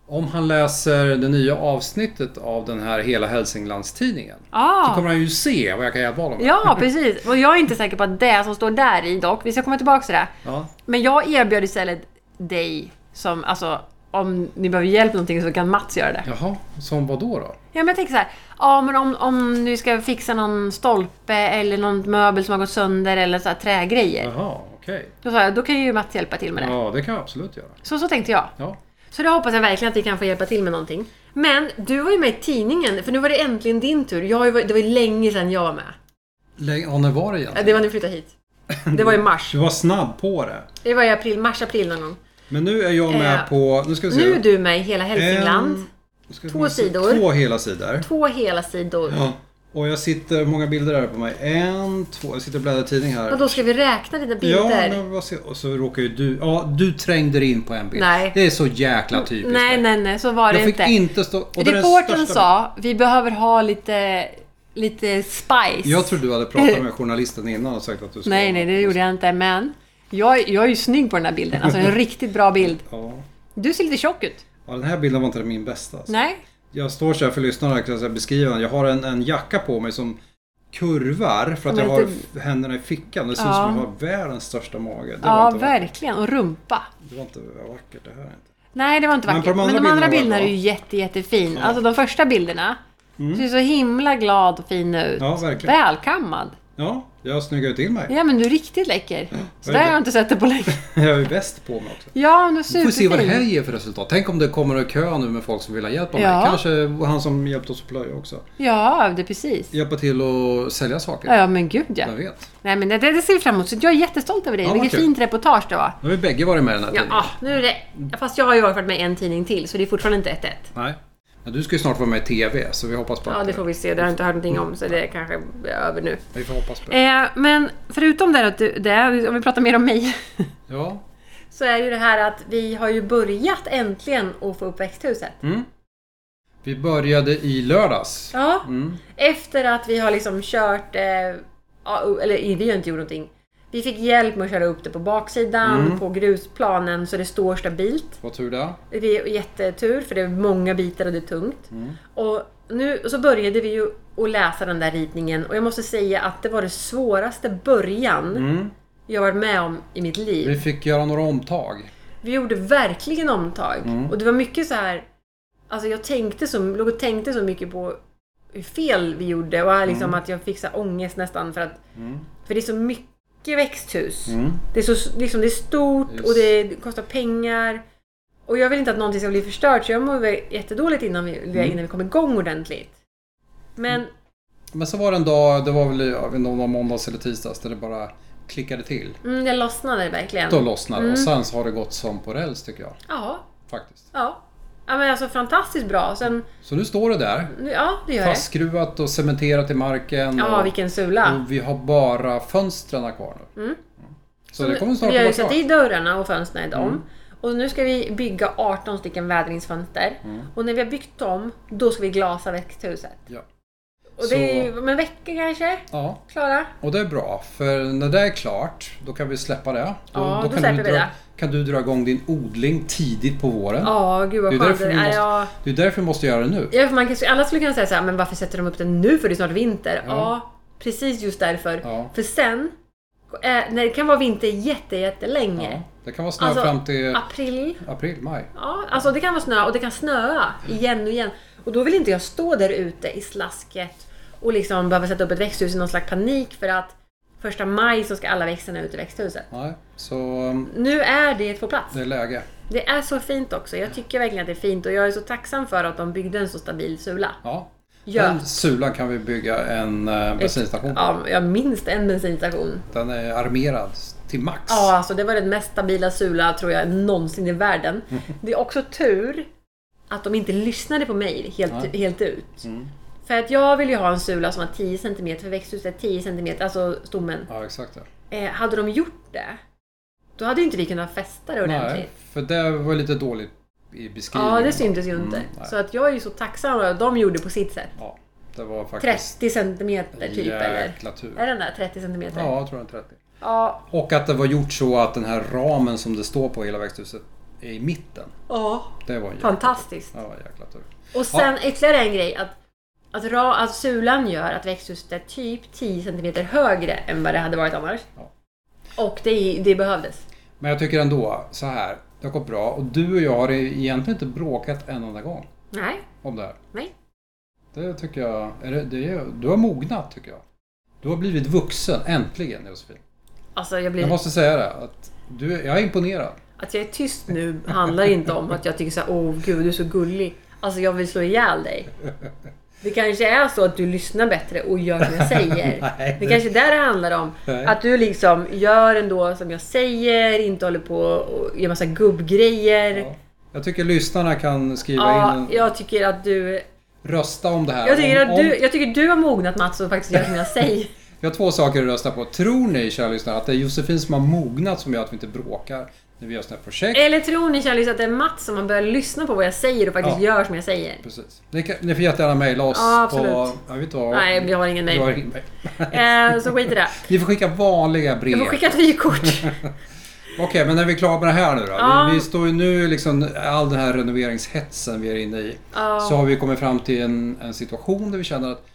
Speaker 1: Om han läser det nya avsnittet av den här Hela Hälsinglandstidningen.
Speaker 2: Ah.
Speaker 1: Så kommer han ju se vad jag kan hjälpa honom med.
Speaker 2: Ja, precis. Och jag är inte säker på att det som står där i dock. Vi ska komma tillbaka till det.
Speaker 1: Ja.
Speaker 2: Men jag erbjöd istället dig som, alltså om ni behöver hjälp med någonting så kan Mats göra det.
Speaker 1: Jaha, som vad då? då?
Speaker 2: Ja men jag tänker så här. Ja men om, om du ska fixa någon stolpe eller någon möbel som har gått sönder eller så här trägrejer.
Speaker 1: Jaha, okej.
Speaker 2: Då sa jag, då kan ju Mats hjälpa till med det.
Speaker 1: Ja, det kan jag absolut göra.
Speaker 2: Så, så tänkte jag.
Speaker 1: Ja.
Speaker 2: Så det hoppas jag verkligen att vi kan få hjälpa till med någonting. Men du var ju med i tidningen, för nu var det äntligen din tur. Jag har ju varit, det var ju länge sedan jag var med.
Speaker 1: Läng- Ja, när var det
Speaker 2: Ja,
Speaker 1: egentligen?
Speaker 2: Det var när du flyttade hit. Det var i mars.
Speaker 1: Du var snabb på det.
Speaker 2: Det var i april, mars-april någon gång.
Speaker 1: Men nu är jag med
Speaker 2: Eh,
Speaker 1: på... Nu ska vi se. Ehm.
Speaker 2: Nu är du med i Hela Hälsingland.
Speaker 1: En- nu ska vi
Speaker 2: två
Speaker 1: se.
Speaker 2: sidor.
Speaker 1: Två hela sidor.
Speaker 2: Två hela sidor.
Speaker 1: Ja. Och jag sitter... hur Många bilder är det på mig. En, två... Jag sitter och bläddrar i tidning här.
Speaker 2: Och då ska vi räkna dina bilder?
Speaker 1: Ja, men vad ser, och så råkar ju du... Ja, du trängde dig in på en bild.
Speaker 2: Nej.
Speaker 1: Det är så jäkla typiskt.
Speaker 2: nej,
Speaker 1: dig.
Speaker 2: nej, nej, så var det
Speaker 1: Jag fick
Speaker 2: inte.
Speaker 1: inte, stå... och det är den
Speaker 2: Reportern
Speaker 1: största-
Speaker 2: sa, vi behöver ha lite, lite spice.
Speaker 1: Jag trodde du hade pratat med journalisten innan och sagt att du skulle...
Speaker 2: nej, nej, det gjorde jag inte. Men jag, jag är ju snygg på den här bilden. Alltså en riktigt bra bild.
Speaker 1: Ja.
Speaker 2: Du ser lite tjock ut.
Speaker 1: ja, den här bilden var inte min bästa. Alltså.
Speaker 2: Nej?
Speaker 1: Jag står så här för lyssnarna kan jag så här beskriva den. Jag har en, en jacka på mig som kurvar för att
Speaker 2: Som
Speaker 1: jag
Speaker 2: är
Speaker 1: har
Speaker 2: lite-
Speaker 1: f- händerna i fickan. Det ser
Speaker 2: Ja.
Speaker 1: ut som att jag har världens största mage. Det,
Speaker 2: Ja,
Speaker 1: var inte, vackert.
Speaker 2: verkligen. Och rumpa.
Speaker 1: det var inte vackert det här. Inte.
Speaker 2: Nej, det var inte
Speaker 1: Men
Speaker 2: vackert.
Speaker 1: på de andra
Speaker 2: Men de andra bilderna
Speaker 1: bilderna var
Speaker 2: är
Speaker 1: det
Speaker 2: ju jätte, jättefin. Alltså de första bilderna. Du ser så himla glad och fin ut.
Speaker 1: Ja, verkligen.
Speaker 2: Välkammad.
Speaker 1: Ja, jag snyggar ju till mig.
Speaker 2: Ja, men du är riktigt läcker. Så där har jag inte sett det på länge.
Speaker 1: Jag är väst på mig också.
Speaker 2: Ja, men du är
Speaker 1: Vi får se vad det här
Speaker 2: superfin.
Speaker 1: ger för resultat. Tänk om det kommer en kö nu med folk som vill ha hjälp av
Speaker 2: Ja.
Speaker 1: mig. Kanske han som hjälpte oss att plöja också.
Speaker 2: Ja, det är precis.
Speaker 1: Hjälpa till att sälja saker.
Speaker 2: Ja, ja, men gud ja.
Speaker 1: Vem vet?
Speaker 2: Nej, men det, det ser vi fram emot. Så jag är jättestolt över dig.
Speaker 1: Ja, vad
Speaker 2: Vilket
Speaker 1: kul.
Speaker 2: fint reportage det var.
Speaker 1: Nu har vi bägge varit med i den här
Speaker 2: Ja,
Speaker 1: tidningen.
Speaker 2: ah, nu är det... Fast jag har ju varit med en tidning till, så det är fortfarande inte 1-1.
Speaker 1: Nej. Men du ska ju snart vara med i TV, så vi hoppas på
Speaker 2: Ja,
Speaker 1: att...
Speaker 2: det får vi se. Det har jag inte hört någonting om, så det är kanske över nu.
Speaker 1: Vi får hoppas på det.
Speaker 2: Eh, men förutom det, här att du- det, om vi pratar mer om mig,
Speaker 1: Ja.
Speaker 2: så är ju det här att vi har ju börjat äntligen att få upp växthuset.
Speaker 1: Mm. Vi började i lördags.
Speaker 2: Ja,
Speaker 1: Mm.
Speaker 2: efter att vi har liksom kört... Eh, ja, eller vi har inte gjort någonting. Vi fick hjälp med att köra upp det på baksidan,
Speaker 1: Mm.
Speaker 2: på grusplanen, så det står stabilt.
Speaker 1: Vad tur det.
Speaker 2: Det är jättetur för det är många bitar och det är tungt. Och nu och så började vi ju att läsa den där ritningen och jag måste säga att det var det svåraste början jag varit med om i mitt liv.
Speaker 1: Vi fick göra några omtag.
Speaker 2: Vi gjorde verkligen omtag
Speaker 1: Mm.
Speaker 2: och det var mycket så här. Alltså jag tänkte så, låg och tänkte så mycket på hur fel vi gjorde och liksom
Speaker 1: Mm.
Speaker 2: att jag fick så här ångest nästan för att för det är så mycket växthus. Det, är så, liksom, det är stort
Speaker 1: Mm. Yes.
Speaker 2: och det, det kostar pengar. Och jag vill inte att någonting ska bli förstört så jag mår väl jättedåligt innan vi,
Speaker 1: Mm.
Speaker 2: innan vi kom igång ordentligt. Men
Speaker 1: Men så var det en dag, det var väl jag vet inte om det var måndags eller tisdags, där det bara klickade till.
Speaker 2: mm, jag lossnade verkligen.
Speaker 1: Då lossnade det. och
Speaker 2: Mm.
Speaker 1: sen så har det gått som på räls tycker jag.
Speaker 2: Ja,
Speaker 1: Faktiskt.
Speaker 2: ja. Ja men alltså fantastiskt bra. Sen,
Speaker 1: Så nu står det där.
Speaker 2: nu- ja det gör det.
Speaker 1: Fastskruvat och cementerat i marken.
Speaker 2: Ja,
Speaker 1: och,
Speaker 2: vilken sula.
Speaker 1: och vi har bara fönstren kvar nu. Så, det kommer snart Mm.
Speaker 2: Vi har ju
Speaker 1: att vara
Speaker 2: satt i
Speaker 1: klart.
Speaker 2: dörrarna och fönstren om. Och nu ska vi bygga 18 stycken vädringsfönster.
Speaker 1: Mm.
Speaker 2: Och när vi har byggt dem, då ska vi glasa växthuset.
Speaker 1: Ja.
Speaker 2: Och det är ju
Speaker 1: Så-
Speaker 2: om en vecka kanske,
Speaker 1: ja,
Speaker 2: Klara?
Speaker 1: och det är bra. För när det är klart, då kan vi släppa det. Då,
Speaker 2: Ja, då
Speaker 1: kan,
Speaker 2: släpper
Speaker 1: du
Speaker 2: vi
Speaker 1: dra,
Speaker 2: det.
Speaker 1: kan du dra igång din odling tidigt på våren.
Speaker 2: Ja, gud
Speaker 1: Det
Speaker 2: vad
Speaker 1: är
Speaker 2: skönt.
Speaker 1: därför
Speaker 2: Det
Speaker 1: vi
Speaker 2: är.
Speaker 1: måste,
Speaker 2: Ja,
Speaker 1: det är därför vi måste göra det nu.
Speaker 2: ja, för man kan, alla skulle kunna säga så här, men varför sätter de upp den nu för det är snart vinter? Ja, precis just därför.
Speaker 1: Ja.
Speaker 2: För sen, eh, när det kan vara vinter jätte, jättelänge.
Speaker 1: Ja, det kan vara snö
Speaker 2: Alltså,
Speaker 1: fram till
Speaker 2: april.
Speaker 1: april, maj.
Speaker 2: Ja, alltså det kan vara snö och det kan snöa igen och igen. Och då vill inte jag stå där ute i slasket och liksom behöva sätta upp ett växthus i någon slags panik för att första maj så ska alla växterna ut i växthuset.
Speaker 1: Nej, så um,
Speaker 2: Nu är det på plats.
Speaker 1: det är läge.
Speaker 2: Det är så fint också. Jag tycker verkligen att det är fint och jag är så tacksam för att de byggde en så stabil sula.
Speaker 1: Ja.
Speaker 2: Ja.
Speaker 1: Den sulan kan vi bygga en eh, bensinstation på.
Speaker 2: Ja, jag minst en bensinstation.
Speaker 1: Den är armerad till max.
Speaker 2: Ja, alltså det var den mest stabila sula tror jag någonsin i världen. Det är också tur att de inte lyssnade på mig helt, helt ut.
Speaker 1: Mm.
Speaker 2: För att jag vill ju ha en sula som var 10 cm, för växthuset är 10 cm, alltså stommen.
Speaker 1: Ja, exakt. Ja.
Speaker 2: Eh, hade de gjort det, då hade ju inte vi kunnat fästa det ordentligt.
Speaker 1: Nej, för det var lite dåligt i beskrivningen.
Speaker 2: typ. ja, det syntes ju inte.
Speaker 1: Mm, nej.
Speaker 2: så att jag är ju så tacksam över att de gjorde på sitt sätt.
Speaker 1: Ja, det var faktiskt
Speaker 2: 30 cm typ, eller?
Speaker 1: jäkla tur.
Speaker 2: Är den där 30 cm?
Speaker 1: Ja, jag tror den 30.
Speaker 2: Ja.
Speaker 1: Och att det var gjort så att den här ramen som det står på hela växthuset är i mitten.
Speaker 2: ja.
Speaker 1: Det var en jäkla,
Speaker 2: Fantastiskt.
Speaker 1: ja, jäkla tur.
Speaker 2: Och sen ytterligare en grej. Att, att, ra, att sulan gör att växthuset är typ 10 cm högre än vad det hade varit annars.
Speaker 1: Ja.
Speaker 2: Och det, det behövdes.
Speaker 1: Men jag tycker ändå så här. Det har gått bra och du och jag har egentligen inte bråkat en enda gång
Speaker 2: Nej,
Speaker 1: om det här.
Speaker 2: nej.
Speaker 1: Det tycker jag. Är det, det är, du har mognat tycker jag. Du har blivit vuxen, äntligen Josefin.
Speaker 2: Alltså jag blir...
Speaker 1: Jag måste säga det. Att du, jag är imponerad.
Speaker 2: Att jag är tyst nu handlar inte om att jag tycker så här, åh gud du är så gullig. Alltså jag vill slå ihjäl dig. Det kanske är så att du lyssnar bättre och gör som jag säger.
Speaker 1: Nej,
Speaker 2: det
Speaker 1: det-
Speaker 2: kanske är där det handlar om.
Speaker 1: Nej.
Speaker 2: Att du liksom gör ändå som jag säger, inte håller på och gör massa gubbgrejer.
Speaker 1: Ja. Jag tycker lyssnarna kan skriva in
Speaker 2: Ja,
Speaker 1: en,
Speaker 2: jag tycker att du...
Speaker 1: Rösta om det här.
Speaker 2: Jag tycker,
Speaker 1: om,
Speaker 2: att du,
Speaker 1: Om,
Speaker 2: jag tycker du har mognat Mats och faktiskt gör som jag säger.
Speaker 1: vi har två saker att rösta på. Tror ni, kära lyssnare, att det är Josefin som har mognat som gör att vi inte bråkar när vi gör sådana här projekt?
Speaker 2: Eller tror ni kärlek att det är Mats som har börjat lyssna på vad jag säger och faktiskt
Speaker 1: Ja.
Speaker 2: gör som jag säger?
Speaker 1: Precis. Ni, kan, ni får jättegärna mejla oss
Speaker 2: Ja, absolut.
Speaker 1: på... Jag vet inte vad.
Speaker 2: Nej, vi har ingen
Speaker 1: Vi har
Speaker 2: mejl.
Speaker 1: ingen mejl.
Speaker 2: Eh, så skit i det.
Speaker 1: Ni får skicka vanliga brev.
Speaker 2: Du får skicka ett vykort.
Speaker 1: Okej, men när vi är klara med det här nu då.
Speaker 2: Ja.
Speaker 1: Vi, vi står ju nu liksom, all den här renoveringshetsen vi är inne i.
Speaker 2: Ja.
Speaker 1: Så har vi kommit fram till en, en situation där vi känner att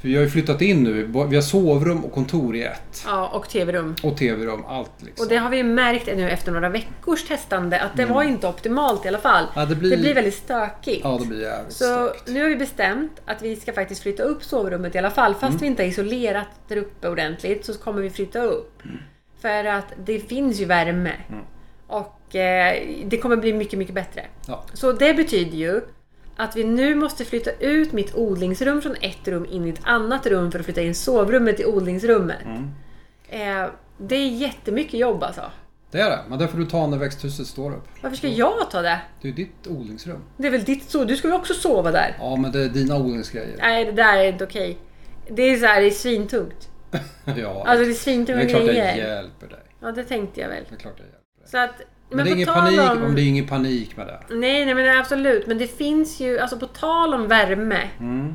Speaker 1: För vi har ju flyttat in nu. Vi har sovrum och kontor i ett.
Speaker 2: Ja, och tv-rum.
Speaker 1: Och tv-rum, allt liksom.
Speaker 2: Och det har vi ju märkt nu efter några veckors testande att det var inte optimalt i alla fall.
Speaker 1: Mm. Ja, det blir-
Speaker 2: väldigt stökigt.
Speaker 1: Ja, det blir jävligt
Speaker 2: Så
Speaker 1: starkt.
Speaker 2: nu har vi bestämt att vi ska faktiskt flytta upp sovrummet i alla fall. Fast vi inte har isolerat där uppe ordentligt så kommer vi flytta upp. För att det finns ju värme. Och eh, det kommer bli mycket, mycket bättre.
Speaker 1: Ja.
Speaker 2: Så det betyder ju att vi nu måste flytta ut mitt odlingsrum från ett rum in i ett annat rum för att flytta in sovrummet i odlingsrummet. Eh, det är jättemycket jobb alltså.
Speaker 1: Det är det. Men det får du ta när växthuset står upp.
Speaker 2: Varför ska jag ta det?
Speaker 1: Det är ju ditt odlingsrum.
Speaker 2: Det är väl ditt sovrum? Du ska ju också sova där?
Speaker 1: Ja, men det är dina odlingsgrejer.
Speaker 2: Nej, det där är inte okej. Det är så här, det är svintungt.
Speaker 1: ja,
Speaker 2: Alltså det är
Speaker 1: det är
Speaker 2: svintunga
Speaker 1: klart
Speaker 2: grejer.
Speaker 1: jag hjälper dig.
Speaker 2: Ja, det tänkte jag väl.
Speaker 1: Det är klart jag hjälper dig.
Speaker 2: Så att, men
Speaker 1: Men, det är
Speaker 2: på
Speaker 1: ingen
Speaker 2: tal
Speaker 1: panik
Speaker 2: om...
Speaker 1: om det är ingen panik med det.
Speaker 2: Nej, nej, men det är absolut. Men det finns ju, alltså på tal om värme.
Speaker 1: Mm.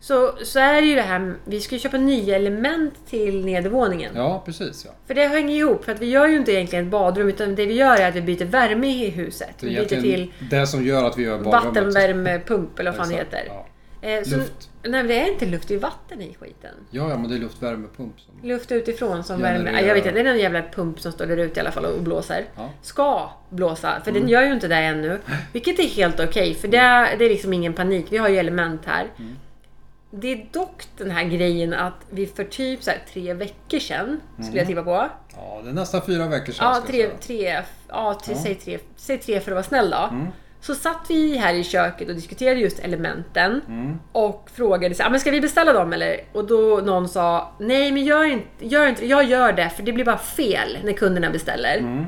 Speaker 2: Så, så är det ju det här, vi ska ju köpa nya element till nedervåningen.
Speaker 1: Ja, precis ja.
Speaker 2: För det hänger ihop, för att vi gör ju inte egentligen ett badrum utan det vi gör är att vi byter värme i huset.
Speaker 1: Det
Speaker 2: Vi
Speaker 1: är
Speaker 2: byter
Speaker 1: egentligen
Speaker 2: till
Speaker 1: det som gör att vi gör badrummet.
Speaker 2: vattenvärmepump eller vad fan det
Speaker 1: Exakt,
Speaker 2: heter.
Speaker 1: Ja.
Speaker 2: Eh, Så,
Speaker 1: Luft.
Speaker 2: Nej men det är inte luft, det är vatten i skiten.
Speaker 1: ja, ja, men det är luftvärmepump. Som...
Speaker 2: Luft utifrån som
Speaker 1: Genererar-
Speaker 2: värmer. Jag vet inte, det är någon jävla pump som står där ute i alla fall och blåser.
Speaker 1: Ja.
Speaker 2: Ska blåsa, för den gör ju inte det ännu. Vilket är helt okej, för det, det är liksom ingen panik. Vi har ju element här. Det är dock den här grejen att vi för typ så här tre veckor sedan, skulle jag tippa på.
Speaker 1: Ja, det är nästan fyra veckor sedan.
Speaker 2: Ja,
Speaker 1: ska jag
Speaker 2: tre,
Speaker 1: säga.
Speaker 2: tre, ja, tre, Säg, tre, säg tre för att vara snäll då.
Speaker 1: Mm.
Speaker 2: Så satt vi här i köket och diskuterade just elementen
Speaker 1: Mm.
Speaker 2: och frågade så, här, "Ah, men ska vi beställa dem eller? Och då någon sa nej men gör inte, gör inte det. jag gör det för det blir bara fel när kunderna beställer.
Speaker 1: Mm.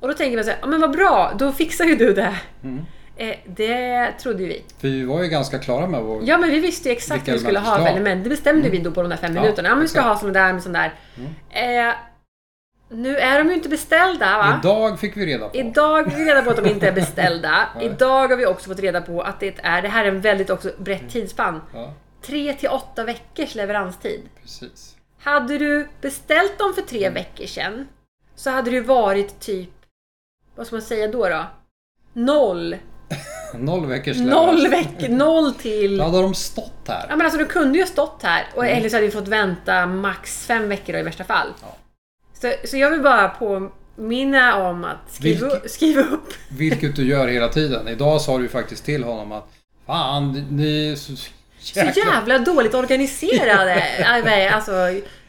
Speaker 2: Och då tänker man så här, "Ah, men vad bra, då fixar ju du det.
Speaker 1: Mm.
Speaker 2: Eh, det trodde ju vi.
Speaker 1: För vi var ju ganska klara med vår...
Speaker 2: Ja men vi visste ju exakt
Speaker 1: Vilka
Speaker 2: vad vi skulle ha
Speaker 1: element
Speaker 2: för
Speaker 1: vi skulle ha. Mm.
Speaker 2: element. Det bestämde vi då på de där fem
Speaker 1: Ja,
Speaker 2: minuterna. Ja, men vi ska
Speaker 1: exakt. Mm.
Speaker 2: ha sån där med sån där. Eh, nu är de ju inte beställda va?
Speaker 1: Idag fick vi reda på.
Speaker 2: Idag fick vi reda på att de inte är beställda.
Speaker 1: Nej.
Speaker 2: Idag har vi också fått reda på att det är, det här är en väldigt också
Speaker 1: Mm.
Speaker 2: brett tidsspann,
Speaker 1: Ja,
Speaker 2: 3 till 8 veckors leveranstid.
Speaker 1: precis.
Speaker 2: Hade du beställt dem för
Speaker 1: Mm.
Speaker 2: tre veckor sedan så hade det ju varit typ, vad ska man säga då? då? Noll.
Speaker 1: Noll veckors
Speaker 2: Noll
Speaker 1: leverans.
Speaker 2: veckor, noll till...
Speaker 1: Då hade de stått här.
Speaker 2: Ja men alltså du kunde ju ha stått här och, eller så hade vi fått vänta max fem veckor då, i värsta fall.
Speaker 1: Mm. Ja.
Speaker 2: Så, så jag vill bara påminna om att skriva,
Speaker 1: Vilket-
Speaker 2: skriva upp
Speaker 1: Vilket du gör hela tiden. Idag sa du ju faktiskt till honom att Fan, ni är så
Speaker 2: Så jävla dåligt organiserade! Nej, nej, alltså,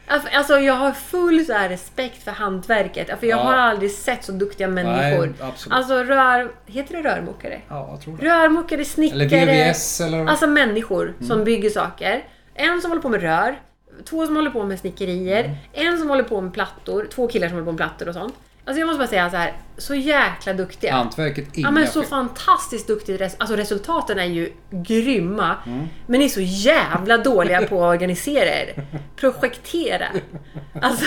Speaker 2: alltså jag har full så här respekt för hantverket. För jag
Speaker 1: Ja.
Speaker 2: har aldrig sett så duktiga människor.
Speaker 1: Nej, absolut.
Speaker 2: alltså rör... Heter det rörmokare?
Speaker 1: Ja, jag tror det.
Speaker 2: Rörmokare,
Speaker 1: Eller
Speaker 2: snickare.
Speaker 1: VVS eller...
Speaker 2: Alltså människor
Speaker 1: Mm.
Speaker 2: som bygger saker. En som håller på med rör. Två som håller på med snickerier.
Speaker 1: Mm.
Speaker 2: En som håller på med plattor. Två killar som håller på med plattor och sånt. Alltså jag måste bara säga så här. Så jäkla duktiga.
Speaker 1: Hantverket, inga
Speaker 2: Ja men så
Speaker 1: fel.
Speaker 2: fantastiskt duktigt. res- Alltså resultaten är ju grymma.
Speaker 1: Mm.
Speaker 2: Men ni är så jävla dåliga på att organisera er. Projektera. Alltså,